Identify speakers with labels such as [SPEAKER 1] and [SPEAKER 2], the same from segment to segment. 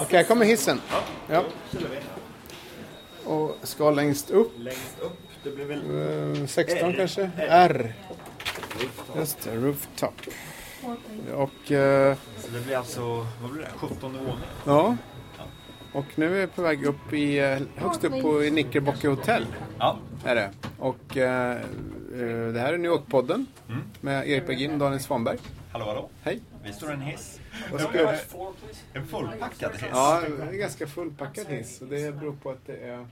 [SPEAKER 1] Okej, här kommer hissen. Ja. Och ska längst upp.
[SPEAKER 2] Längst upp, det blir väl...
[SPEAKER 1] Eh, 16 kanske? R. Just det, rooftop. Och eh,
[SPEAKER 2] Så det blir alltså, vad blir det? 17 våningen?
[SPEAKER 1] ja. Och nu är vi på väg upp i, eh, högst upp på i Nickelbocke hotell.
[SPEAKER 2] Ja.
[SPEAKER 1] Är det. Och eh, eh, det här är New York-podden med Erik Bergin och Daniel Svanberg.
[SPEAKER 2] Mm. Hallå, hallå.
[SPEAKER 1] Hej.
[SPEAKER 2] Vi står i en hiss.
[SPEAKER 1] Vad ska jag-
[SPEAKER 2] En fullpackad hiss.
[SPEAKER 1] Ja, det är ganska fullpackad hiss. Och det beror på att det är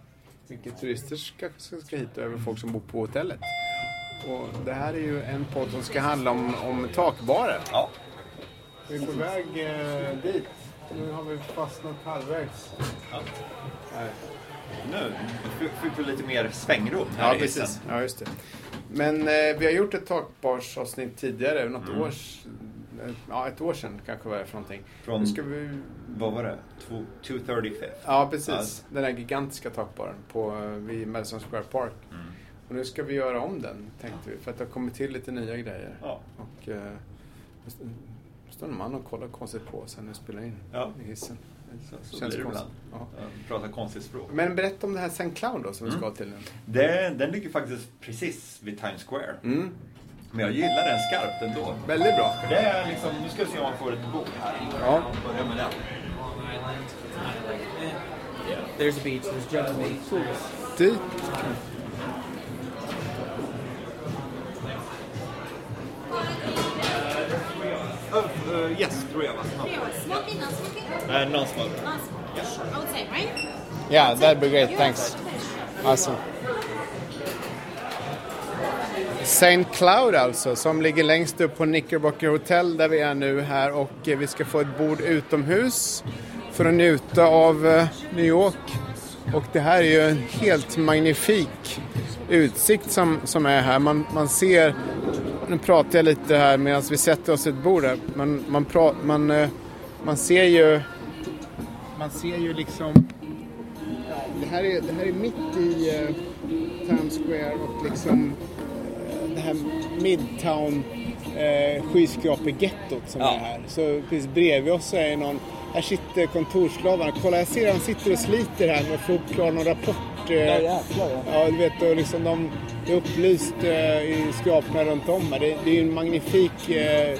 [SPEAKER 1] mycket turister som kanske ska- ska hit och även folk som bor på hotellet. Och det här är ju en podd som ska handla om, om takbarer.
[SPEAKER 2] Ja.
[SPEAKER 1] Vi är på väg eh, dit. Nu har vi fastnat halvvägs.
[SPEAKER 2] Ja.
[SPEAKER 1] Här.
[SPEAKER 2] Nu f- fick vi lite mer svängrum här
[SPEAKER 1] Ja,
[SPEAKER 2] i hissen.
[SPEAKER 1] precis. Ja, just det. Men eh, vi har gjort ett takbarsavsnitt tidigare, något
[SPEAKER 2] Mm.
[SPEAKER 1] års, eh, ja, ett år sedan kanske var det för någonting.
[SPEAKER 2] Från-
[SPEAKER 1] Nu ska vi,
[SPEAKER 2] Vad var det? Två- 235?
[SPEAKER 1] ja,
[SPEAKER 2] Alltså.
[SPEAKER 1] precis. Den där gigantiska takbaren på, eh, vid Madison Square Park.
[SPEAKER 2] Mm.
[SPEAKER 1] Och nu ska vi göra om den, tänkte vi, för att det har kommit till lite nya grejer.
[SPEAKER 2] Ja.
[SPEAKER 1] Och eh, det st- det står en man och kollar konstigt på oss när vi spelar in
[SPEAKER 2] Ja.
[SPEAKER 1] i hissen.
[SPEAKER 2] Så, så
[SPEAKER 1] Känns
[SPEAKER 2] blir det
[SPEAKER 1] konstigt.
[SPEAKER 2] ibland. Mm.
[SPEAKER 1] Ja.
[SPEAKER 2] Ja, Prata konstigt språk.
[SPEAKER 1] Men berätta om det här St. Cloud då, som vi ska till nu.
[SPEAKER 2] Det, den ligger faktiskt precis vid Times Square.
[SPEAKER 1] Mm.
[SPEAKER 2] Men jag gillar den skarpt ändå.
[SPEAKER 1] Väldigt bra.
[SPEAKER 2] För det är liksom, nu ska vi se om man får ett bord här.
[SPEAKER 1] Ja.
[SPEAKER 2] Börja med den.
[SPEAKER 3] There's a beach. There's just beach.
[SPEAKER 1] Dit.
[SPEAKER 2] Uh, uh, yes, tror jag va?
[SPEAKER 4] Smoking, not smoking,
[SPEAKER 2] Nej, någon smak.
[SPEAKER 4] not smoking. Outside, right?
[SPEAKER 1] Yeah, that'd be great.
[SPEAKER 4] Yeah,
[SPEAKER 1] Thanks.
[SPEAKER 4] good.
[SPEAKER 1] Awesome. St. Cloud alltså, som ligger längst upp på Knickerbocker Hotel där vi är nu här och eh, vi ska få ett bord utomhus för att njuta av eh, New York. Och det här är ju en helt magnifik utsikt som, som är här. Man, man ser, nu pratar jag lite här medan vi sätter oss i ett bord här, man, man, pra, man, eh, man ser ju, man ser ju liksom det här är, det här är mitt i eh, Times Square och liksom eh, det här Midtown eh, skyskrapegettot som
[SPEAKER 2] Ja.
[SPEAKER 1] är här. Så precis bredvid oss så är någon, här sitter kontorsslavarna. Kolla jag ser han sitter och sliter här med att få upp klar någon rapport. eh, Ja, du vet, och liksom de, det är upplyst eh, i skraporna runt om här. Det, det är ju en magnifik eh,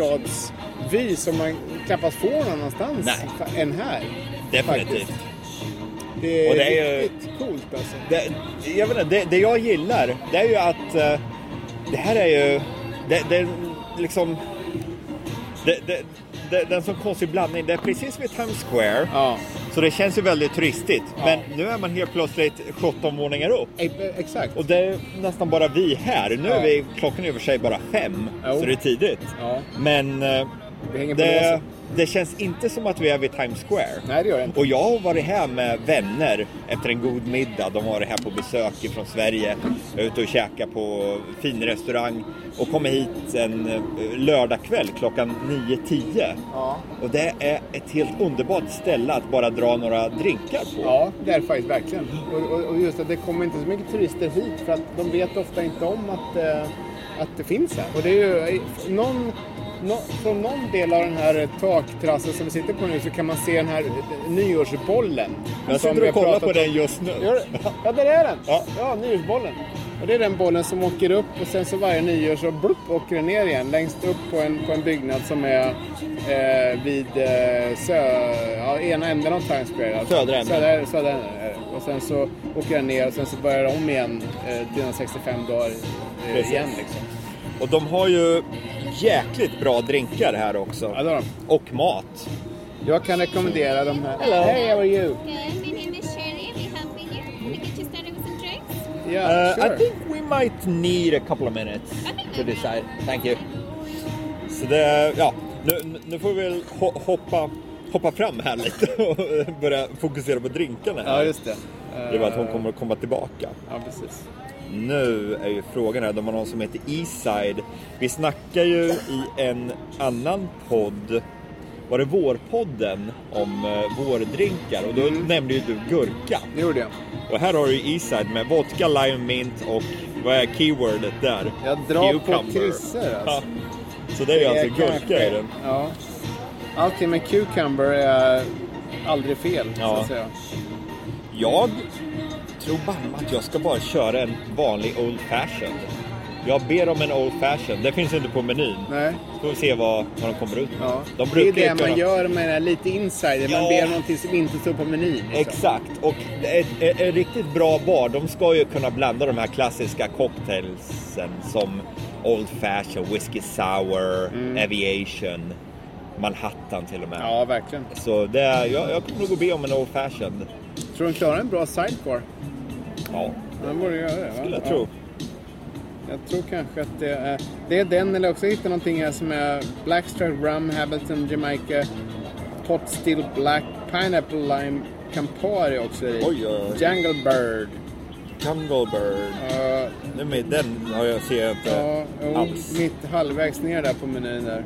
[SPEAKER 1] storstadsvy som man knappast får någon annanstans
[SPEAKER 5] Nej.
[SPEAKER 1] än här.
[SPEAKER 5] Definitivt.
[SPEAKER 1] Det är,
[SPEAKER 5] Och det är ju-
[SPEAKER 1] riktigt coolt alltså.
[SPEAKER 5] Det, jag vet inte, det, det jag gillar, det är ju att eh, det här är ju, det, det är liksom, det, det, det, det är en sån konstig blandning. Det är precis vid Times Square,
[SPEAKER 1] Ja,
[SPEAKER 5] så det känns ju väldigt turistigt.
[SPEAKER 1] Ja.
[SPEAKER 5] Men nu är man helt plötsligt 17 våningar upp.
[SPEAKER 1] e- exakt.
[SPEAKER 5] Och det är nästan bara vi här. Nu
[SPEAKER 1] Ja.
[SPEAKER 5] är vi, klockan är i och för sig bara fem,
[SPEAKER 1] Jo.
[SPEAKER 5] så det är tidigt.
[SPEAKER 1] Ja,
[SPEAKER 5] Men eh,
[SPEAKER 1] vi hänger på
[SPEAKER 5] det,
[SPEAKER 1] låset.
[SPEAKER 5] det känns inte som att vi är vid Times Square.
[SPEAKER 1] Nej, det gör det inte.
[SPEAKER 5] Och jag har varit här med vänner efter en god middag. De har varit här på besök från Sverige. Jag är ute och käkar på fin restaurang och kommer hit en eh, lördagkväll klockan 9-10.
[SPEAKER 1] Ja.
[SPEAKER 5] Och det är ett helt underbart ställe att bara dra några drinkar på.
[SPEAKER 1] Ja, det är det faktiskt verkligen. Och, och, och just att det kommer inte så mycket turister hit för att de vet ofta inte om att, eh, att det finns här. Och det är ju eh, någon, nå, från någon del av den här takterrassen som vi sitter på nu så kan man se den här eh, nyårsbollen.
[SPEAKER 5] Jag
[SPEAKER 1] som vi
[SPEAKER 5] sitter
[SPEAKER 1] har
[SPEAKER 5] och kollar
[SPEAKER 1] pratat
[SPEAKER 5] på
[SPEAKER 1] om.
[SPEAKER 5] den just nu.
[SPEAKER 1] Gör du? Ja, där är den! Ja,
[SPEAKER 5] Ja.
[SPEAKER 1] nyårsbollen. Och det är den bollen som åker upp och sen så varje nyår så blupp, åker den ner igen längst upp på en, på en byggnad som är eh, vid eh, sö, ja, ena änden av Times Square. alltså.
[SPEAKER 5] Södra änden.
[SPEAKER 1] Södra, södra änden är det. Och sen så åker den ner och sen så börjar det om igen eh, 365 dagar eh,
[SPEAKER 5] Precis.
[SPEAKER 1] igen. Liksom.
[SPEAKER 5] Och de har ju jäkligt bra drinkar här också.
[SPEAKER 1] Ja, det har de.
[SPEAKER 5] Och mat.
[SPEAKER 1] Jag kan rekommendera de här. Hello. Hey, how are you?
[SPEAKER 4] My name is Shirley. We have been here. Can we get you started with some drinks?
[SPEAKER 1] Yeah,
[SPEAKER 5] Uh, I think we might need a couple of minutes to decide. Thank you. Så det, ja, nu, nu får vi väl ho- hoppa, hoppa fram här lite och börja fokusera på drinkarna. Här.
[SPEAKER 1] Ja, just det. Eh,
[SPEAKER 5] Det är bara att hon kommer att komma tillbaka.
[SPEAKER 1] Ja, precis.
[SPEAKER 5] Nu är ju frågan här, de har någon som heter Eastside. Vi snackar ju i en annan podd var det vårpodden om eh, vårdrinkar och då
[SPEAKER 1] Mm.
[SPEAKER 5] nämnde ju du gurka.
[SPEAKER 1] Det gjorde jag.
[SPEAKER 5] Och här har du Eastside med vodka, lime, mint och vad är keywordet där?
[SPEAKER 1] Jag drar på
[SPEAKER 5] Cucumber.
[SPEAKER 1] trissor, alltså.
[SPEAKER 5] Ja. Så det är ju alltså
[SPEAKER 1] Det är
[SPEAKER 5] gurka i
[SPEAKER 1] kanske-
[SPEAKER 5] den.
[SPEAKER 1] Ja. Allting med cucumber är aldrig fel, så
[SPEAKER 5] Ja.
[SPEAKER 1] att säga.
[SPEAKER 5] Jag tror bara att jag ska bara köra en vanlig Old Fashioned. Jag ber om en Old Fashioned. Det finns inte på menyn.
[SPEAKER 1] Nej.
[SPEAKER 5] Får vi se vad, vad de kommer ut med.
[SPEAKER 1] Ja.
[SPEAKER 5] De
[SPEAKER 1] det är
[SPEAKER 5] brukar
[SPEAKER 1] det
[SPEAKER 5] ju
[SPEAKER 1] man
[SPEAKER 5] kunna-
[SPEAKER 1] gör med den här lite insider. Man
[SPEAKER 5] Ja.
[SPEAKER 1] ber om någonting som inte står på menyn. liksom.
[SPEAKER 5] Exakt, och ett, ett, ett riktigt bra bar, de ska ju kunna blanda de här klassiska cocktailsen som Old Fashion, Whiskey Sour, Aviation, Manhattan till och med.
[SPEAKER 1] Mm. Ja, verkligen.
[SPEAKER 5] Så det, jag, jag kommer nog gå be om en Old Fashioned.
[SPEAKER 1] Tror du de klarar en bra sidecar?
[SPEAKER 5] Ja,
[SPEAKER 1] De borde göra det, va?
[SPEAKER 5] skulle jag
[SPEAKER 1] Ja.
[SPEAKER 5] tro.
[SPEAKER 1] Jag tror kanske att det är, det är den eller också hitta någonting här som är Blackstrap Rum, Hamilton, Jamaica, Pot Still Black, Pineapple Lime, Campari också i.
[SPEAKER 5] Oj, oj, oj.
[SPEAKER 1] Jungle Bird.
[SPEAKER 5] Jungle Bird.
[SPEAKER 1] Uh,
[SPEAKER 5] Nej, men den har jag ser jag inte
[SPEAKER 1] ja, jo,
[SPEAKER 5] alls.
[SPEAKER 1] mitt halvvägs ner där på menyn där.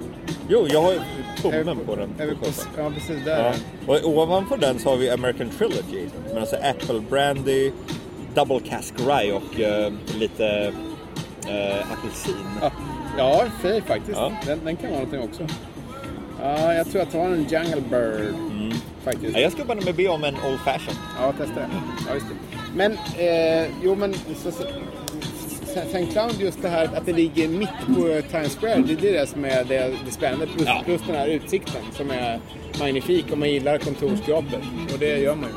[SPEAKER 5] Jo, jag har ju
[SPEAKER 1] Är vi
[SPEAKER 5] tummen på den.
[SPEAKER 1] Är vi på,
[SPEAKER 5] Sköta.
[SPEAKER 1] ja, precis där.
[SPEAKER 5] Ja. Och ovanför den så har vi American Trilogy. Men alltså Apple Brandy, Double Cask Rye och eh, lite eh, apelsin.
[SPEAKER 1] Ja, ja fair faktiskt.
[SPEAKER 5] Ja.
[SPEAKER 1] Den, den kan vara någonting också. Ja, jag tror jag tar en Jungle Bird faktiskt.
[SPEAKER 5] Mm. Ja, jag ska bara med be om en Old Fashion.
[SPEAKER 1] Ja, testa det. Ja, just det. Men, eh, jo men, så, så, sen, sen Clown, just det här att det ligger mitt på Times Square, det är det som är det, det spännande. Plus,
[SPEAKER 5] Ja.
[SPEAKER 1] plus den här utsikten som är magnifik om man gillar kontorsjobbet. Och det gör man ju.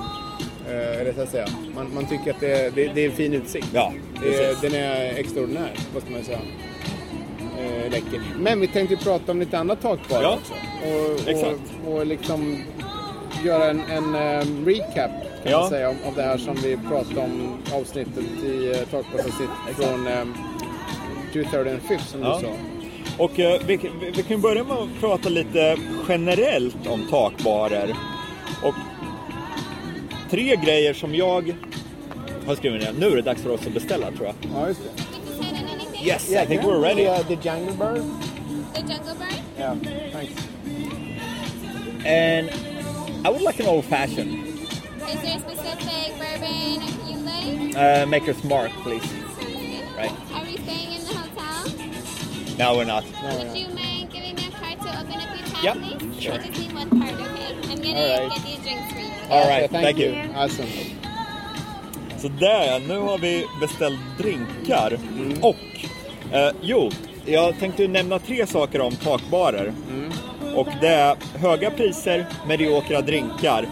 [SPEAKER 1] Eh, eller så att säga. Man, man tycker att det, det, det är en fin utsikt.
[SPEAKER 5] Ja,
[SPEAKER 1] det, är-
[SPEAKER 5] precis.
[SPEAKER 1] Eh, den är extraordinär, måste man ju säga. Eh, läcker. Men vi tänkte ju prata om lite annat takbar
[SPEAKER 5] Ja,
[SPEAKER 1] också. Och,
[SPEAKER 5] exakt.
[SPEAKER 1] Och, och liksom göra en, en eh, recap kan
[SPEAKER 5] Ja.
[SPEAKER 1] man säga, om, av det här som vi pratade om avsnittet i uh, takbarsavsnittet från um, 23rd and 5th som
[SPEAKER 5] Ja.
[SPEAKER 1] du sa.
[SPEAKER 5] Och eh, vi, vi, vi kan börja med att prata lite generellt om takbarer. Och tre grejer som jag har skrivit ner. Nu är det dags för oss att beställa tror jag.
[SPEAKER 1] Ja, just det.
[SPEAKER 4] You decided anything?
[SPEAKER 5] Yes, I think we're ready.
[SPEAKER 1] The, the Jungle Bird?
[SPEAKER 4] The jungle bird?
[SPEAKER 1] Yeah, thanks.
[SPEAKER 5] And I would like an Old Fashioned.
[SPEAKER 4] Is there a specific bourbon you like?
[SPEAKER 5] Uh, Maker's Mark, please. Right.
[SPEAKER 4] Are we staying in the hotel?
[SPEAKER 5] No, we're not.
[SPEAKER 1] No,
[SPEAKER 4] Would
[SPEAKER 1] no.
[SPEAKER 4] you mind giving me a card to open up your tab,
[SPEAKER 5] Yep,
[SPEAKER 4] please?
[SPEAKER 5] sure.
[SPEAKER 4] I just need one card, okay? I'm gonna
[SPEAKER 1] Alright.
[SPEAKER 4] get these drinks for you. okay?
[SPEAKER 5] All right,
[SPEAKER 1] Yeah,
[SPEAKER 5] thank you.
[SPEAKER 1] Awesome.
[SPEAKER 5] Så där, nu har vi beställt drinkar. Och, eh, jo, jag tänkte ju nämna tre saker om takbarer. Och det är höga priser, mediokra drinkar,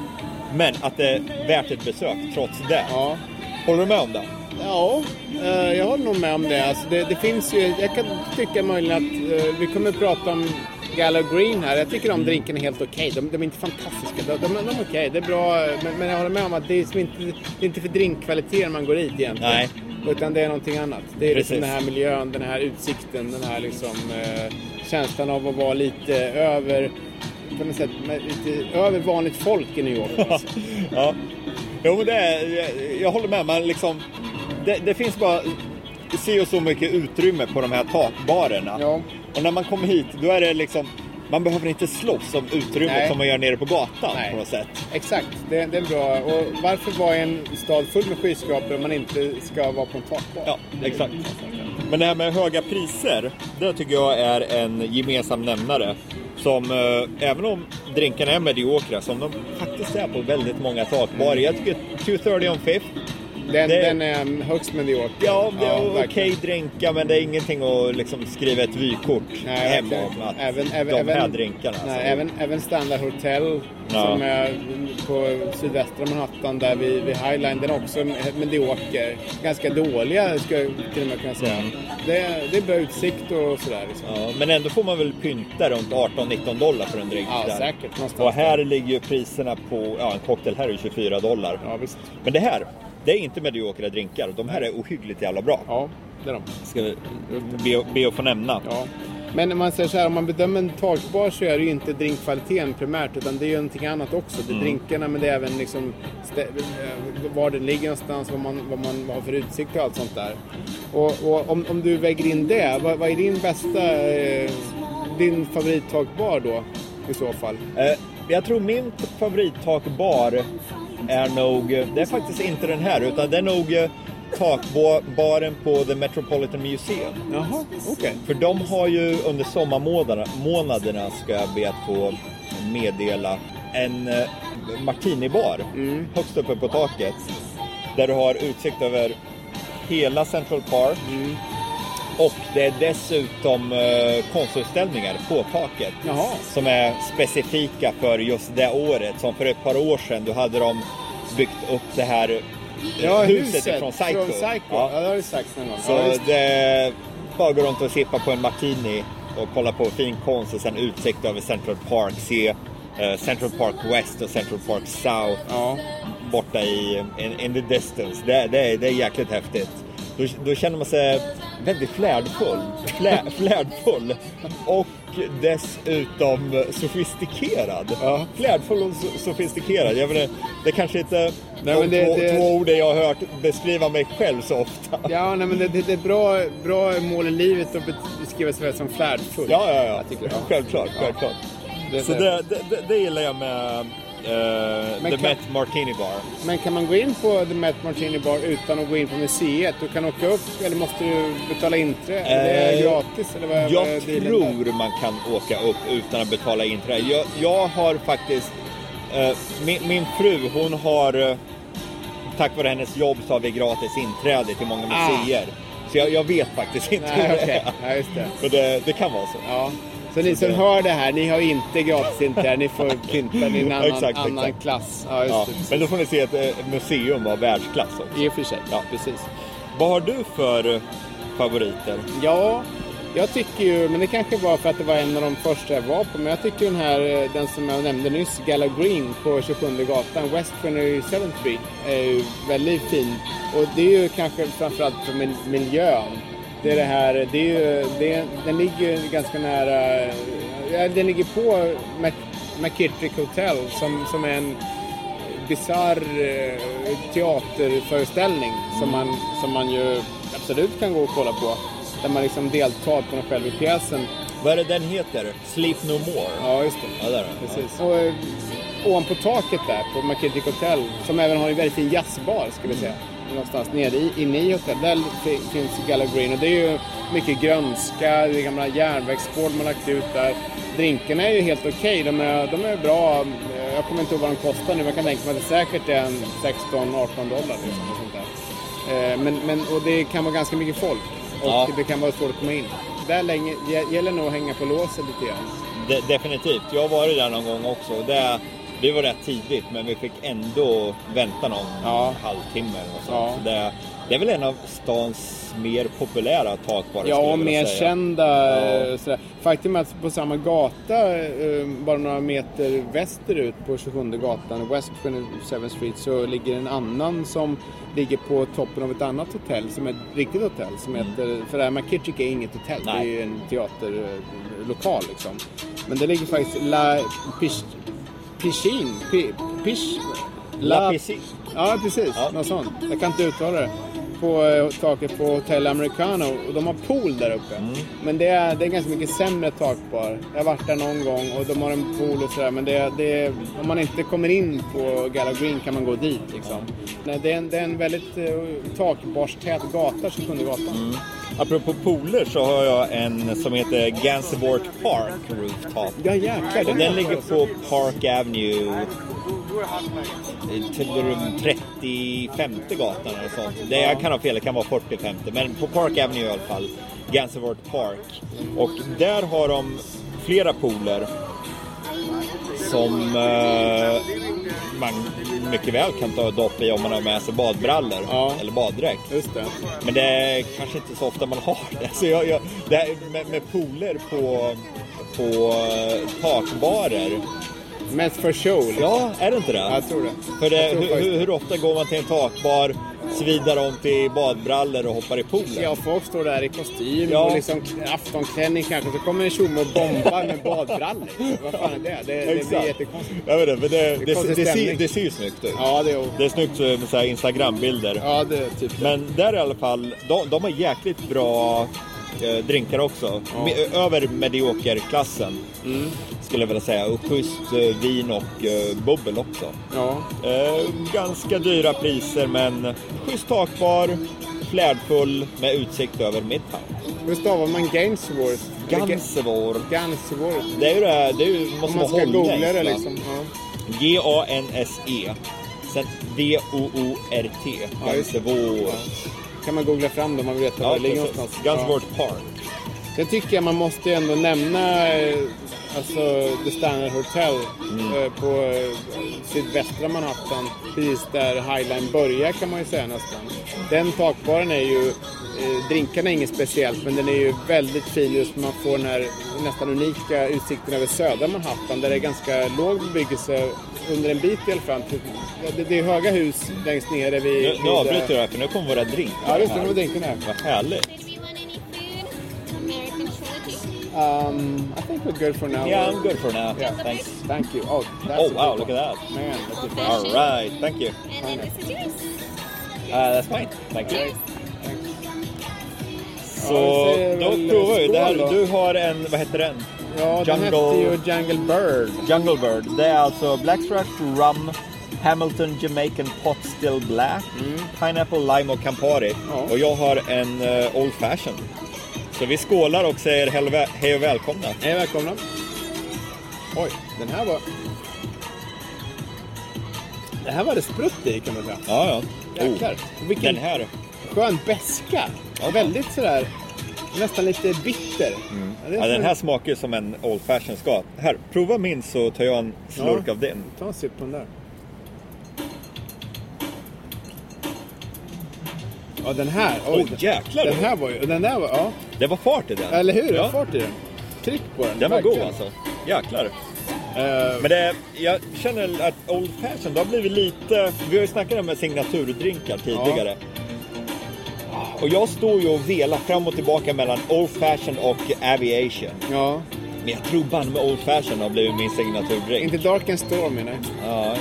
[SPEAKER 5] men att det är värt ett besök trots det.
[SPEAKER 1] Ja.
[SPEAKER 5] Håller du med om det?
[SPEAKER 1] Ja, eh, jag håller nog med om det. Alltså det, det finns ju, jag kan tycka möjligen att eh, vi kommer att prata om Gallo Green här. Jag tycker de drinkarna är helt okej. De, de är inte fantastiska. De, de, de är okej, det är bra. Men, men jag håller med om att det är, liksom inte, det är inte för drinkkvaliteten man går dit egentligen.
[SPEAKER 5] Nej.
[SPEAKER 1] Utan det är någonting annat. Det är liksom
[SPEAKER 5] Precis.
[SPEAKER 1] den här miljön, den här utsikten, den här liksom, eh, känslan av att vara lite över på något sätt, med- lite över vanligt folk i New York. Alltså.
[SPEAKER 5] ja. Jo, men det är, jag, jag håller med. Men liksom, det, det finns bara si och så mycket utrymme på de här takbarerna.
[SPEAKER 1] Ja.
[SPEAKER 5] Och när man kommer hit, då är det liksom... Man behöver inte slåss om utrymmet
[SPEAKER 1] Nej.
[SPEAKER 5] som man gör nere på gatan
[SPEAKER 1] Nej.
[SPEAKER 5] på något sätt.
[SPEAKER 1] Exakt, det, det är bra. Och varför vara i en stad full med skyskrapor om man inte ska vara på en takbar?
[SPEAKER 5] Ja, exakt. Men det här med höga priser, det tycker jag är en gemensam nämnare. Som, eh, även om drinkarna är mediokra, som de faktiskt är på väldigt många takbarer. Jag tycker 230 on fifth
[SPEAKER 1] Den,
[SPEAKER 5] Det-
[SPEAKER 1] den är mm, högst medioker.
[SPEAKER 5] Ja, det är okej
[SPEAKER 1] verkligen.
[SPEAKER 5] drinkar men det är ingenting att liksom skriva ett vykort
[SPEAKER 1] Nej,
[SPEAKER 5] hem
[SPEAKER 1] verkligen.
[SPEAKER 5] om att
[SPEAKER 1] även, även,
[SPEAKER 5] de här
[SPEAKER 1] även-
[SPEAKER 5] drinkarna.
[SPEAKER 1] Nej,
[SPEAKER 5] alltså.
[SPEAKER 1] även, även Standard Hotel
[SPEAKER 5] Ja.
[SPEAKER 1] som är på sydvästra Manhattan där vid, vid Highline, den är också medioker. Ganska dåliga skulle jag till och med kunna säga.
[SPEAKER 5] Mm.
[SPEAKER 1] Det, det är bra utsikt och sådär. Liksom.
[SPEAKER 5] Ja, men ändå får man väl pynta runt 18-19 dollar för en drink
[SPEAKER 1] Ja,
[SPEAKER 5] där.
[SPEAKER 1] säkert. Någonstans
[SPEAKER 5] Och här ligger ju priserna på, ja en cocktail här är ju 24 dollar.
[SPEAKER 1] Ja, visst.
[SPEAKER 5] Men det här, det är inte mediokra drinkar. De här är ohyggligt jävla bra.
[SPEAKER 1] Ja, det är de.
[SPEAKER 5] Ska vi be, be att få nämna.
[SPEAKER 1] Ja. Men om man säger så här, om man bedömer en takbar så är det ju inte drinkkvaliteten primärt utan det är ju någonting annat också. Det är
[SPEAKER 5] Mm.
[SPEAKER 1] drinkarna men det är även liksom stä- eh, var den ligger någonstans, vad man, vad man har för utsikt och allt sånt där. Och, och om, om du väger in det, vad, vad är din bästa, eh, din favorittakbar då? i så fall.
[SPEAKER 5] Eh, jag tror min favorittakbar är nog, eh, det är faktiskt inte den här utan det är nog eh, takbaren på The Metropolitan Museum.
[SPEAKER 1] Jaha, okej.
[SPEAKER 5] För de har ju under sommarmånaderna, månaderna ska jag be att få meddela, en eh, martinibar
[SPEAKER 1] Mm.
[SPEAKER 5] högst uppe på taket. Där du har utsikt över hela Central Park.
[SPEAKER 1] Mm.
[SPEAKER 5] Och det är dessutom eh, konstutställningar på taket.
[SPEAKER 1] Jaha.
[SPEAKER 5] Som är specifika för just det året. Som för ett par år sedan, då hade de byggt upp det här eh,
[SPEAKER 1] Ja,
[SPEAKER 5] huset, från Psycho.
[SPEAKER 1] Från Psycho. Ja.
[SPEAKER 5] Ja.
[SPEAKER 1] det har du sagt någon gång.
[SPEAKER 5] Så
[SPEAKER 1] Ja, just det.
[SPEAKER 5] det bara gå runt och sippa på en martini och kolla på fin konst och sen utsikt över Central Park. Se eh, Central Park West och Central Park South
[SPEAKER 1] ja.
[SPEAKER 5] borta i in, in the distance. Det, det, är- det är jäkligt häftigt. Då, då känner man sig väldigt flärdfull. Flä, flärdfull. Och dessutom sofistikerad.
[SPEAKER 1] Ja.
[SPEAKER 5] Flärdfull och so- sofistikerad. Jag menar, det kanske inte
[SPEAKER 1] Nej,
[SPEAKER 5] de
[SPEAKER 1] men det-
[SPEAKER 5] två,
[SPEAKER 1] det-
[SPEAKER 5] två orden jag har hört beskriva mig själv så ofta.
[SPEAKER 1] ja nej, men det, det, det är bra, bra mål i livet att bet- beskriva sig själv som flärdfull.
[SPEAKER 5] Ja, ja, ja.
[SPEAKER 1] Jag tycker det.
[SPEAKER 5] Självklart, självklart.
[SPEAKER 1] Det är
[SPEAKER 5] Så
[SPEAKER 1] det.
[SPEAKER 5] det, det, det, det gillar jag med eh,
[SPEAKER 1] Men
[SPEAKER 5] The
[SPEAKER 1] kan-
[SPEAKER 5] Met Martini Bar.
[SPEAKER 1] Men kan man gå in på The Met Martini Bar utan att gå in på museet? Du kan åka upp, eller måste du betala inträde? Eller är det
[SPEAKER 5] Eh,
[SPEAKER 1] gratis? Eller vad är- vad
[SPEAKER 5] Jag
[SPEAKER 1] är dealen där?
[SPEAKER 5] tror man kan åka upp utan att betala inträde. Jag, jag har faktiskt... eh, min, min fru, hon har... eh, tack vare hennes jobb så har vi gratis inträde till många
[SPEAKER 1] Ah.
[SPEAKER 5] museer. Så jag, jag vet faktiskt inte
[SPEAKER 1] Nej,
[SPEAKER 5] hur det
[SPEAKER 1] okej.
[SPEAKER 5] är.
[SPEAKER 1] Nej, just det.
[SPEAKER 5] Men det, det kan vara så.
[SPEAKER 1] Ja. Så ni som
[SPEAKER 5] det-
[SPEAKER 1] hör det här, ni har inte gratis inträde. Ni får pynta i en annan,
[SPEAKER 5] Exakt,
[SPEAKER 1] annan
[SPEAKER 5] exakt.
[SPEAKER 1] klass. Ja, just
[SPEAKER 5] Ja.
[SPEAKER 1] det.
[SPEAKER 5] Men då får ni se ett eh, museum av världsklass också.
[SPEAKER 1] I och för sig.
[SPEAKER 5] Ja.
[SPEAKER 1] precis.
[SPEAKER 5] Vad har du för eh, favoriter?
[SPEAKER 1] Ja, jag tycker ju, men det kanske var för att det var en av de första jag var på, men jag tycker den här, eh, den som jag nämnde nyss, Gala Green på 27 gatan, West 27th Street, är ju väldigt fin. Och det är ju kanske framförallt för mil- miljön. Det är det här, det är ju, det, den ligger ju ganska nära, eh, ja, den ligger på Mc, McKittrick Hotel som, som är en bisarr eh, teaterföreställning som man, som man ju absolut kan gå och kolla på. Där man liksom deltar på något själv i pjäsen.
[SPEAKER 5] Vad är det den heter? Sleep No More?
[SPEAKER 1] Ja, just det.
[SPEAKER 5] Ja, där är den.
[SPEAKER 1] Precis. Och eh, ovanpå taket där på McKittrick Hotel, som även har en väldigt fin jazzbar skulle jag säga.
[SPEAKER 5] Mm.
[SPEAKER 1] Någonstans nere i, inne i hotellet. Där fi- finns Gallo Green och det är ju mycket grönska, det är gamla järnvägsspår man lagt ut där. Drinkarna är ju helt okej, de, är, de är bra. Jag kommer inte ihåg vad de kostar nu, men jag kan tänka mig att det säkert är en 16-18 dollar. Liksom, och sånt där. Eh, Men, men, och det kan vara ganska mycket folk och
[SPEAKER 5] Ja.
[SPEAKER 1] det kan vara svårt att komma in. Där länge, gä- gäller nog att hänga på låset lite grann.
[SPEAKER 5] De, definitivt. Jag har varit där någon gång också. och Det, det var rätt tidigt men vi fick ändå vänta någon
[SPEAKER 1] Ja.
[SPEAKER 5] halvtimme. Och sånt.
[SPEAKER 1] Ja.
[SPEAKER 5] Så det, det är väl en av stans mer populära takbarer skulle
[SPEAKER 1] Ja,
[SPEAKER 5] jag
[SPEAKER 1] och
[SPEAKER 5] vilja
[SPEAKER 1] mer
[SPEAKER 5] säga.
[SPEAKER 1] kända.
[SPEAKER 5] Ja.
[SPEAKER 1] eh, Sådär. Faktum är att på samma gata, eh, bara några meter västerut på 27 gatan, West 27 Street, så ligger en annan som ligger på toppen av ett annat hotell, som är ett riktigt hotell. Som heter, för det här McKittrick är inget hotell,
[SPEAKER 5] Mm. Nej.
[SPEAKER 1] det är ju en teaterlokal liksom. Men det ligger faktiskt La Pish, Pishin, Pi- Pish,
[SPEAKER 5] La Piscine.
[SPEAKER 1] Ja, precis.
[SPEAKER 5] Ja.
[SPEAKER 1] Något sånt. Jag kan inte uttala det. På eh, taket på Hotel Americano. Och de har pool där uppe.
[SPEAKER 5] Mm.
[SPEAKER 1] Men det är, det är ganska mycket sämre takbar. Jag har varit där någon gång och de har en pool och sådär. Men det, det, om man inte kommer in på Gala Green kan man gå dit liksom. Nej, det, är en, det är en väldigt eh, takbarstät gata, 27 gatan.
[SPEAKER 5] Mm. Apropå pooler så har jag en som heter Gansevoort Park Rooftop.
[SPEAKER 1] Ja, jäklar.
[SPEAKER 5] Och
[SPEAKER 1] är-
[SPEAKER 5] den ligger på Park Avenue eh, till runt 35 gatan eller sånt. Det jag kan ha fel, det kan vara 40-50 men på Park Avenue i alla fall. Gansevoort Park. Och där har de flera pooler som eh, man mycket väl kan ta ett dopp i om man har med sig badbrallor
[SPEAKER 1] Ja.
[SPEAKER 5] eller baddräkt.
[SPEAKER 1] Just det.
[SPEAKER 5] Men det är kanske inte så ofta man har det. Så jag, jag, det här med, med pooler på, på eh, takbarer.
[SPEAKER 1] Mest för show liksom.
[SPEAKER 5] Ja, är det inte det?
[SPEAKER 1] Jag tror det.
[SPEAKER 5] För det,
[SPEAKER 1] Jag tror
[SPEAKER 5] hur,
[SPEAKER 1] faktiskt
[SPEAKER 5] hur, hur ofta går man till en takbar, svidar om till badbrallor och hoppar i poolen?
[SPEAKER 1] Ja, folk står där i kostym
[SPEAKER 5] Ja.
[SPEAKER 1] och liksom aftonklänning kanske. Så kommer en tjomme och bombar med badbrallor. Vad fan är det? Det, det blir
[SPEAKER 5] Exakt.
[SPEAKER 1] jättekonstigt.
[SPEAKER 5] Jag vet inte, men det, det, det,
[SPEAKER 1] konstig
[SPEAKER 5] ser,
[SPEAKER 1] stämning.
[SPEAKER 5] det ser ju snyggt ut.
[SPEAKER 1] Ja, det är
[SPEAKER 5] Det är snyggt eh, med så här Instagram-bilder.
[SPEAKER 1] Ja, det är typ det.
[SPEAKER 5] Men där i alla fall, de, de har jäkligt bra eh, drinkar också. Me- Över mediokerklassen
[SPEAKER 1] Mm.
[SPEAKER 5] skulle jag vilja säga. Och schysst eh, vin och eh, bubbel också.
[SPEAKER 1] Ja.
[SPEAKER 5] Eh, ganska dyra priser men schysst takbar, flärdfull med utsikt över Midtown.
[SPEAKER 1] Hur stavar man Gainsworth?
[SPEAKER 5] Gansevor.
[SPEAKER 1] Gansworth.
[SPEAKER 5] Det är ju det, här- det är ju,
[SPEAKER 1] Om
[SPEAKER 5] måste
[SPEAKER 1] man
[SPEAKER 5] vara
[SPEAKER 1] ska googla det
[SPEAKER 5] holländskt va?
[SPEAKER 1] liksom. Ja.
[SPEAKER 5] G-A-N-S-E. E. Sen D-O-O-R-T.
[SPEAKER 1] Ja, just det.
[SPEAKER 5] Gansevor.
[SPEAKER 1] Kan man googla fram det om man vill veta var
[SPEAKER 5] Ja,
[SPEAKER 1] det ligger
[SPEAKER 5] precis.
[SPEAKER 1] någonstans. Ja.
[SPEAKER 5] Gansevort Park.
[SPEAKER 1] Sen tycker jag man måste ju ändå nämna eh, alltså, The Standard Hotel
[SPEAKER 5] Mm.
[SPEAKER 1] eh, på eh, sydvästra Manhattan. Precis där Highline börjar kan man ju säga nästan. Den takbaren är ju, eh, drinkarna är inget speciellt men den är ju väldigt fin just när man får den här nästan unika utsikten över södra Manhattan där det är ganska låg bebyggelse under en bit i alla fall. Det, det är höga hus längst nere vid...
[SPEAKER 5] Nu, nu
[SPEAKER 1] vid, eh,
[SPEAKER 5] avbryter jag det här, för nu kommer våra drinkar.
[SPEAKER 1] Ja, just det.
[SPEAKER 5] här.
[SPEAKER 1] Nu var drinken här.
[SPEAKER 5] Vad härligt.
[SPEAKER 4] Did we want any food? American trilogy.
[SPEAKER 1] Um, I think we're good for now.
[SPEAKER 5] Yeah, I'm good for now.
[SPEAKER 1] Yeah.
[SPEAKER 5] Thanks.
[SPEAKER 1] Thank you. Oh, that's
[SPEAKER 5] Oh
[SPEAKER 1] a
[SPEAKER 5] wow,
[SPEAKER 1] good
[SPEAKER 5] look
[SPEAKER 1] one.
[SPEAKER 5] at that.
[SPEAKER 1] Man, that's a
[SPEAKER 4] Okay.
[SPEAKER 1] fast.
[SPEAKER 5] All right, thank you.
[SPEAKER 4] And then this is yours.
[SPEAKER 5] Uh, that's fine. Thank you.
[SPEAKER 4] Cheers.
[SPEAKER 5] Så
[SPEAKER 1] Ja, det
[SPEAKER 5] då
[SPEAKER 1] ser väl
[SPEAKER 5] provar vi. Det här,
[SPEAKER 1] skål då.
[SPEAKER 5] du har en, vad heter den?
[SPEAKER 1] Ja, den
[SPEAKER 5] Jungle-
[SPEAKER 1] hette ju Jungle Bird.
[SPEAKER 5] Jungle Bird. Det är alltså Blackstruck, Rum, Hamilton Jamaican Pot Still Black, Pineapple, Lime och Campari.
[SPEAKER 1] Mm. Ja.
[SPEAKER 5] Och jag har en eh, Old Fashioned. Så vi skålar och säger helve- hej och välkomna.
[SPEAKER 1] Hej välkomna. Oj, den här var... Den här var det sprutt i kan man säga.
[SPEAKER 5] Ja, ja.
[SPEAKER 1] Jäklar.
[SPEAKER 5] Oh,
[SPEAKER 1] Vilken
[SPEAKER 5] Den här.
[SPEAKER 1] skön beska.
[SPEAKER 5] Ja.
[SPEAKER 1] Väldigt sådär, nästan lite bitter. Ja, det är
[SPEAKER 5] Mm. Ja, den
[SPEAKER 1] som-
[SPEAKER 5] här smakar ju som en Old Fashioned ska. Här, prova min så tar jag en slurk
[SPEAKER 1] Ja.
[SPEAKER 5] av din.
[SPEAKER 1] Ta en sipp på den där. Ja, den här. Oj,
[SPEAKER 5] Åh, jäklar.
[SPEAKER 1] Den här var ju... Den där var... Ja,
[SPEAKER 5] Det var fart i den.
[SPEAKER 1] eller hur?
[SPEAKER 5] Ja.
[SPEAKER 1] Ja. Fart i den. Tryck på den.
[SPEAKER 5] Den var god
[SPEAKER 1] verkligen.
[SPEAKER 5] alltså. Jäklar.
[SPEAKER 1] Eh,
[SPEAKER 5] Men det, jag känner att Old Fashioned, det har blivit lite... Vi har ju snackat om signaturdrinkar tidigare. Och jag står ju och velar fram och tillbaka mellan Old Fashioned och Aviation.
[SPEAKER 1] ja,
[SPEAKER 5] Men jag tror banne med Old Fashioned har blivit min signaturdrink.
[SPEAKER 1] inte Dark and Stormy nej.
[SPEAKER 5] Ja.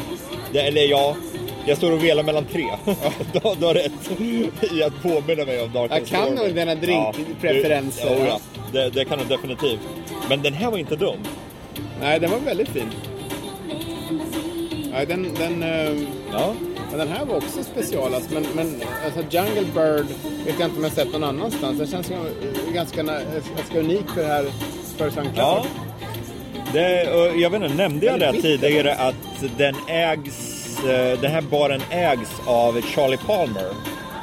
[SPEAKER 5] Det, eller ja, jag står och velar mellan tre. du, har- du har rätt i att påminna mig om Dark
[SPEAKER 1] Jag
[SPEAKER 5] and
[SPEAKER 1] kan
[SPEAKER 5] Stormy.
[SPEAKER 1] nog dina drinkpreferenser.
[SPEAKER 5] Ja, du- ja, det, det kan du definitivt. Men den här var inte dum.
[SPEAKER 1] Nej, den var väldigt fin. Ja, den, den, eh,
[SPEAKER 5] Ja.
[SPEAKER 1] ja, den här var också special. Alltså, men men alltså, Jungle Bird vet jag inte om jag sett någon annanstans. Den känns ju- ganska, na- eh, ganska unik för det här för St.
[SPEAKER 5] Ja.
[SPEAKER 1] Cloud.
[SPEAKER 5] Det, och jag vet inte, nämnde jag
[SPEAKER 1] Den är
[SPEAKER 5] det
[SPEAKER 1] bitter.
[SPEAKER 5] tidigare att den ägs, eh, den här baren ägs av Charlie Palmer.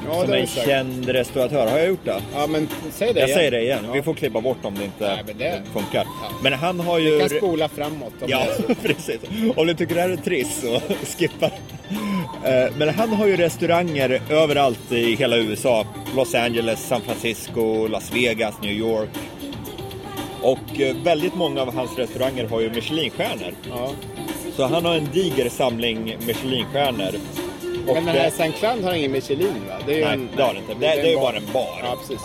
[SPEAKER 1] Ja,
[SPEAKER 5] som
[SPEAKER 1] det
[SPEAKER 5] är
[SPEAKER 1] har
[SPEAKER 5] en
[SPEAKER 1] du sagt.
[SPEAKER 5] känd restauratör. Har jag gjort det?
[SPEAKER 1] Ja, men säg det
[SPEAKER 5] Jag
[SPEAKER 1] igen.
[SPEAKER 5] säger det igen.
[SPEAKER 1] Ja.
[SPEAKER 5] Vi får klippa bort om det inte
[SPEAKER 1] Nej, men det-
[SPEAKER 5] funkar.
[SPEAKER 1] Ja.
[SPEAKER 5] Men han har ju...
[SPEAKER 1] Vi kan spola framåt. Om
[SPEAKER 5] Ja,
[SPEAKER 1] det.
[SPEAKER 5] precis. Om du tycker det här är trist så skippa. Eh, Men han har ju restauranger överallt i hela USA. Los Angeles, San Francisco, Las Vegas, New York. Och eh, väldigt många av hans restauranger har ju Michelinstjärnor.
[SPEAKER 1] Ja.
[SPEAKER 5] Så han har en diger samling Michelinstjärnor. Och eh,
[SPEAKER 1] Men den här
[SPEAKER 5] det-
[SPEAKER 1] St. Cloud har ingen Michelin va? Det är ju
[SPEAKER 5] Nej,
[SPEAKER 1] en,
[SPEAKER 5] det har den inte. Det, det är ju bara en bar.
[SPEAKER 1] Ja, precis.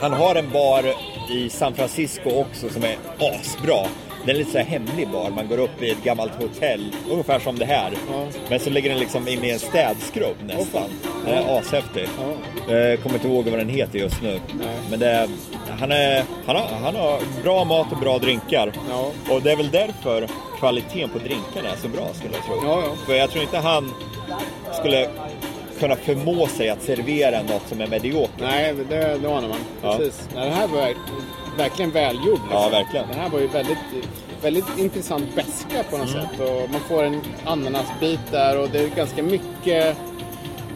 [SPEAKER 5] Han har en bar i San Francisco också som är asbra. Det är en lite så här hemlig bar. Man går upp i ett gammalt hotell, ungefär som det här.
[SPEAKER 1] Ja.
[SPEAKER 5] Men så ligger den liksom inne i en städskrubb nästan. Den är ashäftig.
[SPEAKER 1] Ja.
[SPEAKER 5] Eh, kommer inte ihåg vad den heter just nu.
[SPEAKER 1] Nej.
[SPEAKER 5] Men det är, han, är, han, har, han har bra mat och bra drinkar.
[SPEAKER 1] Ja.
[SPEAKER 5] Och det är väl därför kvaliteten på drinkarna är så bra skulle jag tro.
[SPEAKER 1] Ja, ja.
[SPEAKER 5] För jag tror inte han skulle kunna förmå sig att servera något som är mediokert.
[SPEAKER 1] Nej, det, det anar man.
[SPEAKER 5] Ja.
[SPEAKER 1] Precis. Nej, den här var verk- verkligen välgjord. Liksom.
[SPEAKER 5] Ja, verkligen.
[SPEAKER 1] Den här var ju väldigt, väldigt intressant beska på
[SPEAKER 5] Mm.
[SPEAKER 1] något sätt. Och man får en ananasbit där och det är ganska mycket,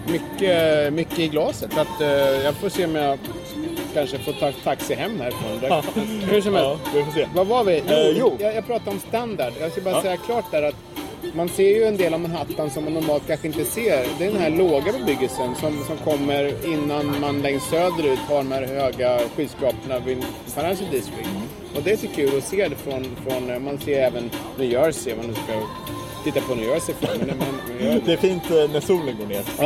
[SPEAKER 1] mycket, mycket i glaset. Så att, eh, jag får se om jag kanske får ta taxi hem härifrån. direkt. Hur som helst.
[SPEAKER 5] Ja, vi får se.
[SPEAKER 1] Vad var vi? Jo,
[SPEAKER 5] Eh, jo.
[SPEAKER 1] Jag, jag pratade om standard. Jag ska bara
[SPEAKER 5] Ja.
[SPEAKER 1] säga klart där att man ser ju en del av Manhattan som man normalt kanske inte ser. Det är den här låga bebyggelsen som, som kommer innan man längst söderut har de här höga skyskraporna vid Financial District. Och det är så kul att se det från, från man ser även New Jersey, om man nu ska titta på New Jersey från. Men, men, men,
[SPEAKER 5] Det är fint eh, när solen går ner.
[SPEAKER 1] det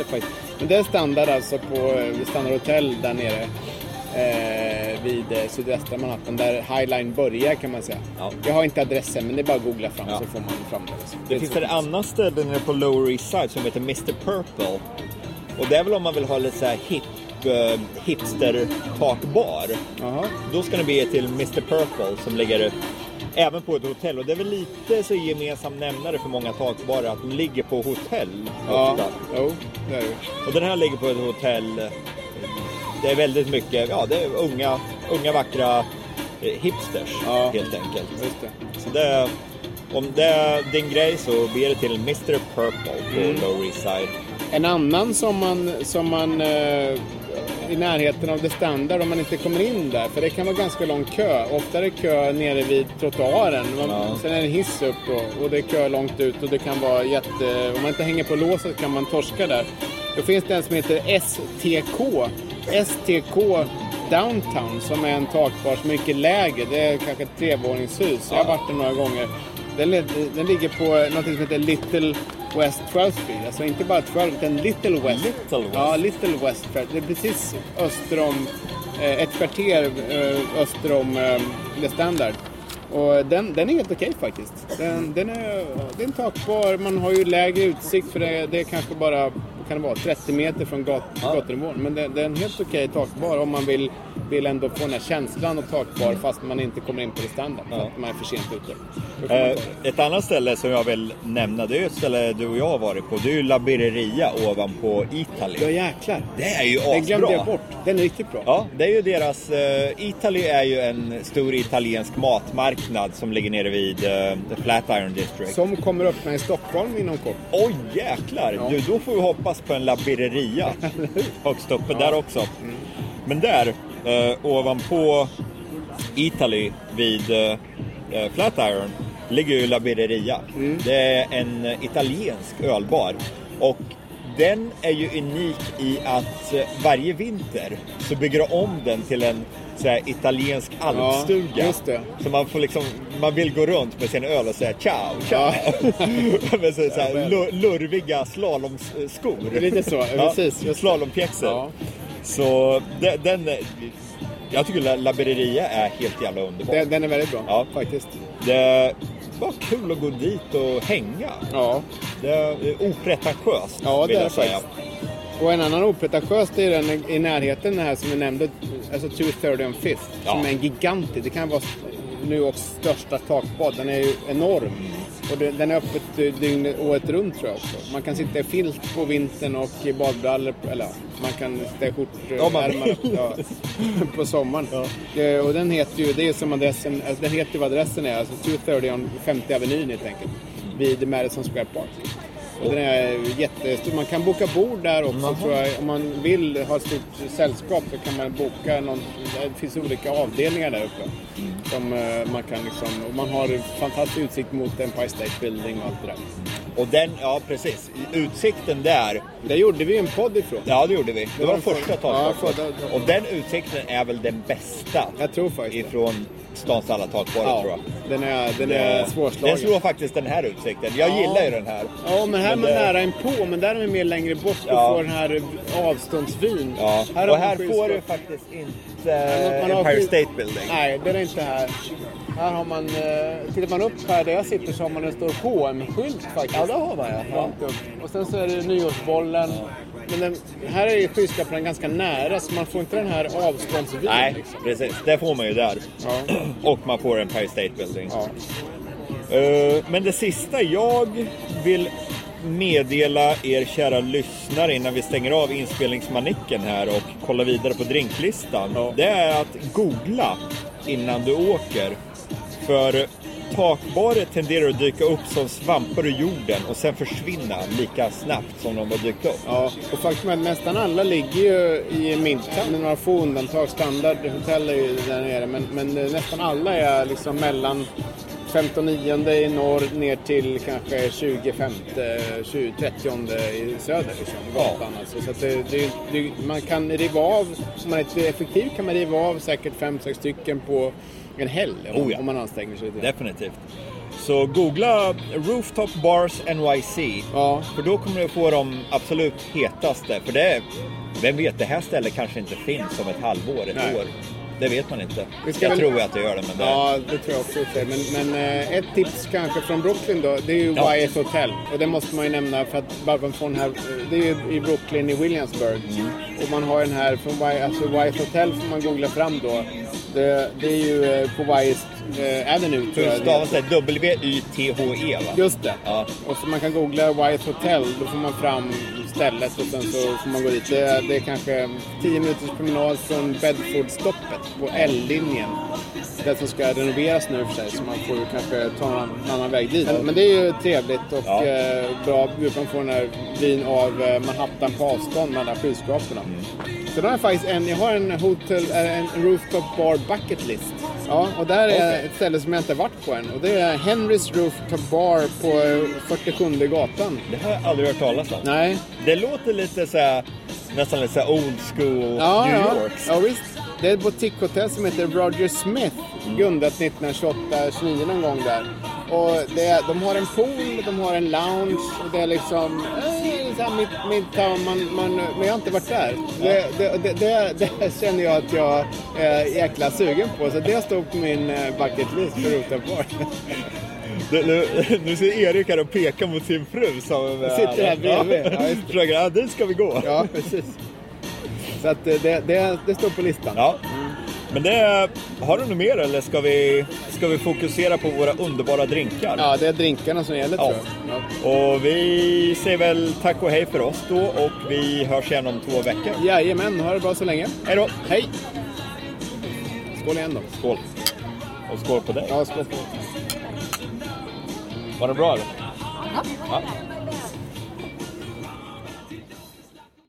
[SPEAKER 1] är faktiskt- Men det är standard alltså på eh, Standard Hotel där nere eh, vid eh, sydvästra Manhattan där Highline börjar kan man säga.
[SPEAKER 5] Ja.
[SPEAKER 1] Jag har inte adressen men det är bara att googla fram
[SPEAKER 5] Ja.
[SPEAKER 1] så får man fram det. Alltså.
[SPEAKER 5] Det finns ett annat ställe nere på Lower East Side som heter Mr Purple. Och det är väl om man vill ha lite så här hipp typ eh, hipster-takbar.
[SPEAKER 1] Jaha.
[SPEAKER 5] Då ska ni bege er till Mr Purple som ligger även på ett hotell. Och det är väl lite så gemensam nämnare för många takbarer att de ligger på hotell
[SPEAKER 1] Ja,
[SPEAKER 5] ofta.
[SPEAKER 1] jo, det är det.
[SPEAKER 5] Och den här ligger på ett hotell. eh, Det är väldigt mycket, ja det är unga, unga vackra eh, hipsters
[SPEAKER 1] Ja.
[SPEAKER 5] helt enkelt.
[SPEAKER 1] Just det.
[SPEAKER 5] Så det, om det är din grej så be dig till Mr Purple på
[SPEAKER 1] Mm.
[SPEAKER 5] Lower East Side.
[SPEAKER 1] En annan som man, som man eh, i närheten av det standard om man inte kommer in där. För det kan vara ganska lång kö. Ofta är det kö nere vid trottoaren. Man,
[SPEAKER 5] Ja.
[SPEAKER 1] Sen är det en hiss upp och, och det är kö långt ut och det kan vara jätte... Om man inte hänger på låset kan man torska där. Då finns det en som heter STK. STK Downtown som är en takbar som är mycket lägre. Det är kanske ett trevåningshus. Jag har varit där några gånger. Den, led- den ligger på något som heter Little West 12th Street. Alltså inte bara 12 utan Little West.
[SPEAKER 5] Little West.
[SPEAKER 1] Ja, Little West. Trail. Det är precis öster om, eh, ett kvarter eh, öster om eh, The Standard. Och den, den är helt okej faktiskt. Den, den är, det är en takbar, man har ju lägre utsikt för det, det är kanske bara kan det vara, 30 meter från gat,
[SPEAKER 5] Ja.
[SPEAKER 1] gatunivån. Men det, det är en helt okej takbar om man vill, vill ändå få den här känslan av takbar fast man inte kommer in på The Standard. För
[SPEAKER 5] Ja.
[SPEAKER 1] att man är för sent ute. Då kan man
[SPEAKER 5] Eh,
[SPEAKER 1] ta det.
[SPEAKER 5] ett annat ställe som jag vill nämna, det är ett ställe du och jag har varit på. Det är ju La Birreria ovanpå
[SPEAKER 1] Ja
[SPEAKER 5] Italy.
[SPEAKER 1] jäklar.
[SPEAKER 5] Det är ju
[SPEAKER 1] Den glömde jag
[SPEAKER 5] asbra.
[SPEAKER 1] bort. Den är riktigt bra.
[SPEAKER 5] Ja, det är ju deras... eh, Italy är ju en stor italiensk matmarknad som ligger nere vid uh, Flatiron District.
[SPEAKER 1] Som kommer öppna i Stockholm inom kort.
[SPEAKER 5] Oj jäklar!
[SPEAKER 1] Ja.
[SPEAKER 5] Du, då får vi hoppas på en labireria högst uppe där också.
[SPEAKER 1] Mm.
[SPEAKER 5] Men där, eh, ovanpå Italy vid eh, eh, Flatiron, ligger ju labireria.
[SPEAKER 1] Mm.
[SPEAKER 5] Det är en eh, italiensk ölbar. Och den är ju unik i att eh, varje vinter så bygger de om den till en så här, italiensk alpstuga.
[SPEAKER 1] just det.
[SPEAKER 5] Så man får liksom, man vill gå runt med sin öl och säga ciao, ciao. med så, så här,
[SPEAKER 1] Jajamän.
[SPEAKER 5] lu- lurviga slalomskor.
[SPEAKER 1] Lite så, precis, just det.
[SPEAKER 5] slalompjäxor.
[SPEAKER 1] Ja.
[SPEAKER 5] Så de- den, jag tycker La- La Birreria är helt jävla underbar.
[SPEAKER 1] Den, den är väldigt bra
[SPEAKER 5] Ja.
[SPEAKER 1] faktiskt.
[SPEAKER 5] Det var kul att gå dit och hänga.
[SPEAKER 1] Ja.
[SPEAKER 5] Det är opretentiöst
[SPEAKER 1] Ja,
[SPEAKER 5] vill
[SPEAKER 1] det är
[SPEAKER 5] jag säga.
[SPEAKER 1] Och en annan opretentiös det är den i närheten den här som vi nämnde, alltså 230 and Fifth,
[SPEAKER 5] Ja.
[SPEAKER 1] som är en gigantisk. Det kan vara New Yorks största takbad. Den är ju enorm. Och det- den är öppet eh, dygnet året runt tror jag också. Man kan sitta i filt på vintern och i badbrallor, på- eller ja, man kan sitta i
[SPEAKER 5] Om man
[SPEAKER 1] skjortärmar ja, på sommaren. Eh, Och den heter ju, det är som adressen, alltså den heter vad adressen är, alltså 230 on 50 Avenyn helt enkelt. Vid Madison Square Park. Och den är jättestor. Man kan boka bord där också tror jag. Om man vill ha ett stort sällskap så kan man boka någon... Det finns olika avdelningar där uppe. Som eh, man kan liksom... Och man har fantastisk utsikt mot Empire State Building och allt det där.
[SPEAKER 5] Och den, ja precis, utsikten där.
[SPEAKER 1] Där gjorde vi en podd ifrån.
[SPEAKER 5] Ja, det gjorde vi. Det, var
[SPEAKER 1] var
[SPEAKER 5] den första
[SPEAKER 1] för- ja,
[SPEAKER 5] takbasen.
[SPEAKER 1] för-
[SPEAKER 5] och den utsikten är väl den bästa
[SPEAKER 1] Jag tror faktiskt det.
[SPEAKER 5] ifrån stans alla takbarer tror jag.
[SPEAKER 1] den är, den är
[SPEAKER 5] Det-
[SPEAKER 1] svårslagen.
[SPEAKER 5] Den slår faktiskt den här utsikten. Jag
[SPEAKER 1] Ja.
[SPEAKER 5] gillar ju den här.
[SPEAKER 1] Ja, men här är man
[SPEAKER 5] det-
[SPEAKER 1] nära en på, men där är man mer längre bort och
[SPEAKER 5] Ja.
[SPEAKER 1] får den här avståndsvyn.
[SPEAKER 5] Ja.
[SPEAKER 1] har
[SPEAKER 5] och
[SPEAKER 1] man
[SPEAKER 5] här får
[SPEAKER 1] skyltskåp.
[SPEAKER 5] du faktiskt inte
[SPEAKER 1] Man har
[SPEAKER 5] Empire
[SPEAKER 1] skil-
[SPEAKER 5] State Building.
[SPEAKER 1] Nej, den är inte här. Här har man, eh, tittar man upp här där jag sitter så har man en stor H&M-skylt faktiskt. Ja, det har man ja. Och sen så är det nyårsbollen. Men den, här är ju skyskrapan ganska nära så man får inte den här avståndsvyn.
[SPEAKER 5] Nej,
[SPEAKER 1] liksom.
[SPEAKER 5] precis. Det får man ju där.
[SPEAKER 1] Ja.
[SPEAKER 5] Och man får Empire State Building.
[SPEAKER 1] Ja.
[SPEAKER 5] Eh, men det sista jag vill meddela er kära lyssnare innan vi stänger av inspelningsmanicken här och kollar vidare på drinklistan.
[SPEAKER 1] Ja.
[SPEAKER 5] Det är att googla innan du åker. För takbarer tenderar att dyka upp som svampar ur jorden och sen försvinna lika snabbt som de har dykt upp.
[SPEAKER 1] Ja, och faktum är att nästan alla ligger ju i midtown med några få undantag. Standardhotell är ju där nere, men, men eh, nästan alla är liksom mellan 15-9 i norr ner till kanske 25 20, 30 i söder. Liksom, gatan alltså. Så att det, det, det, man kan riva av, om man är lite effektiv kan man riva av säkert 5-6 stycken på en helg om,
[SPEAKER 5] Oh ja.
[SPEAKER 1] om man anstränger sig lite.
[SPEAKER 5] Definitivt. Så googla Rooftop Bars NYC.
[SPEAKER 1] Ja.
[SPEAKER 5] För då kommer du få de absolut hetaste. För det är, vem vet, det här stället kanske inte finns om ett halvår, ett
[SPEAKER 1] Nej.
[SPEAKER 5] år. Det vet man inte.
[SPEAKER 1] Vi ska
[SPEAKER 5] Jag
[SPEAKER 1] väl-
[SPEAKER 5] tror ju att det gör det, men det...
[SPEAKER 1] Ja, det tror jag också. i och för sig. Men, men eh, ett tips kanske från Brooklyn då, det är ju
[SPEAKER 5] Ja.
[SPEAKER 1] Wyatt Hotel. Och det måste man ju nämna för att Barbara von här, det är ju i Brooklyn i Williamsburg.
[SPEAKER 5] Mm.
[SPEAKER 1] Och man har den här, från Wyatt, alltså Wyatt Hotel får man googla fram då. Det, det är ju eh, på Wyatt eh, Avenue tror
[SPEAKER 5] Hur
[SPEAKER 1] jag. det är.
[SPEAKER 5] stavas det? W-Y-T-H-E, E, va?
[SPEAKER 1] Just det.
[SPEAKER 5] Ja.
[SPEAKER 1] Och så man kan googla Wyatt Hotel, då får man fram stället och sen så får man gå dit. Det, det är kanske 10 minuters promenad från Bedfordstoppet på L-linjen. Det som ska renoveras nu i och för sig, så man får ju kanske ta en annan- en annan väg dit. Men, men det är ju trevligt och
[SPEAKER 5] Ja.
[SPEAKER 1] eh, bra. Man får den här vyn av eh, Manhattan på avstånd med alla skyskraporna.
[SPEAKER 5] Mm.
[SPEAKER 1] Sen har jag faktiskt en, jag har en hotel, eh, en rooftop bar bucket list. Ja, och där är
[SPEAKER 5] Okej.
[SPEAKER 1] ett ställe som jag inte har varit på än. Och det är Henrys Rooftop Bar på eh, 47 gatan.
[SPEAKER 5] Det har jag aldrig hört talas om.
[SPEAKER 1] Nej.
[SPEAKER 5] Det låter lite så här, nästan lite så här old school
[SPEAKER 1] Ja,
[SPEAKER 5] New
[SPEAKER 1] ja.
[SPEAKER 5] York.
[SPEAKER 1] ja visst. Det är ett boutiquehotell som heter Roger Smith. Grundat 1928-29 någon gång där. Och det, är- de har en pool, de har en lounge och det är liksom... eh, så här mitt, mitt, town, man, man, men jag har inte varit där. Det, det, det, det, det känner jag att jag är jäkla sugen på. Så det står på min eh, bucket list för utanför.
[SPEAKER 5] Du, nu, nu ser Erik här och pekar mot sin fru som eh,
[SPEAKER 1] Sitter här bredvid. Ja,
[SPEAKER 5] Ja,
[SPEAKER 1] just det.
[SPEAKER 5] Frågar, ja, dit ska vi gå.
[SPEAKER 1] Ja, precis. Så att eh, det, det, det står på listan.
[SPEAKER 5] Ja. Men det, har du något mer eller ska vi, ska vi fokusera på våra underbara drinkar?
[SPEAKER 1] Ja, det är drinkarna som gäller
[SPEAKER 5] Ja.
[SPEAKER 1] tror jag. Ja.
[SPEAKER 5] Och vi säger väl tack och hej för oss då och vi hörs igen om två veckor.
[SPEAKER 1] Jajamän, ha det bra så länge.
[SPEAKER 5] Hej då!
[SPEAKER 1] Hej! Skål igen då.
[SPEAKER 5] Skål! Och skål på dig!
[SPEAKER 1] Ja, skål på.
[SPEAKER 5] Var det bra eller? Ja.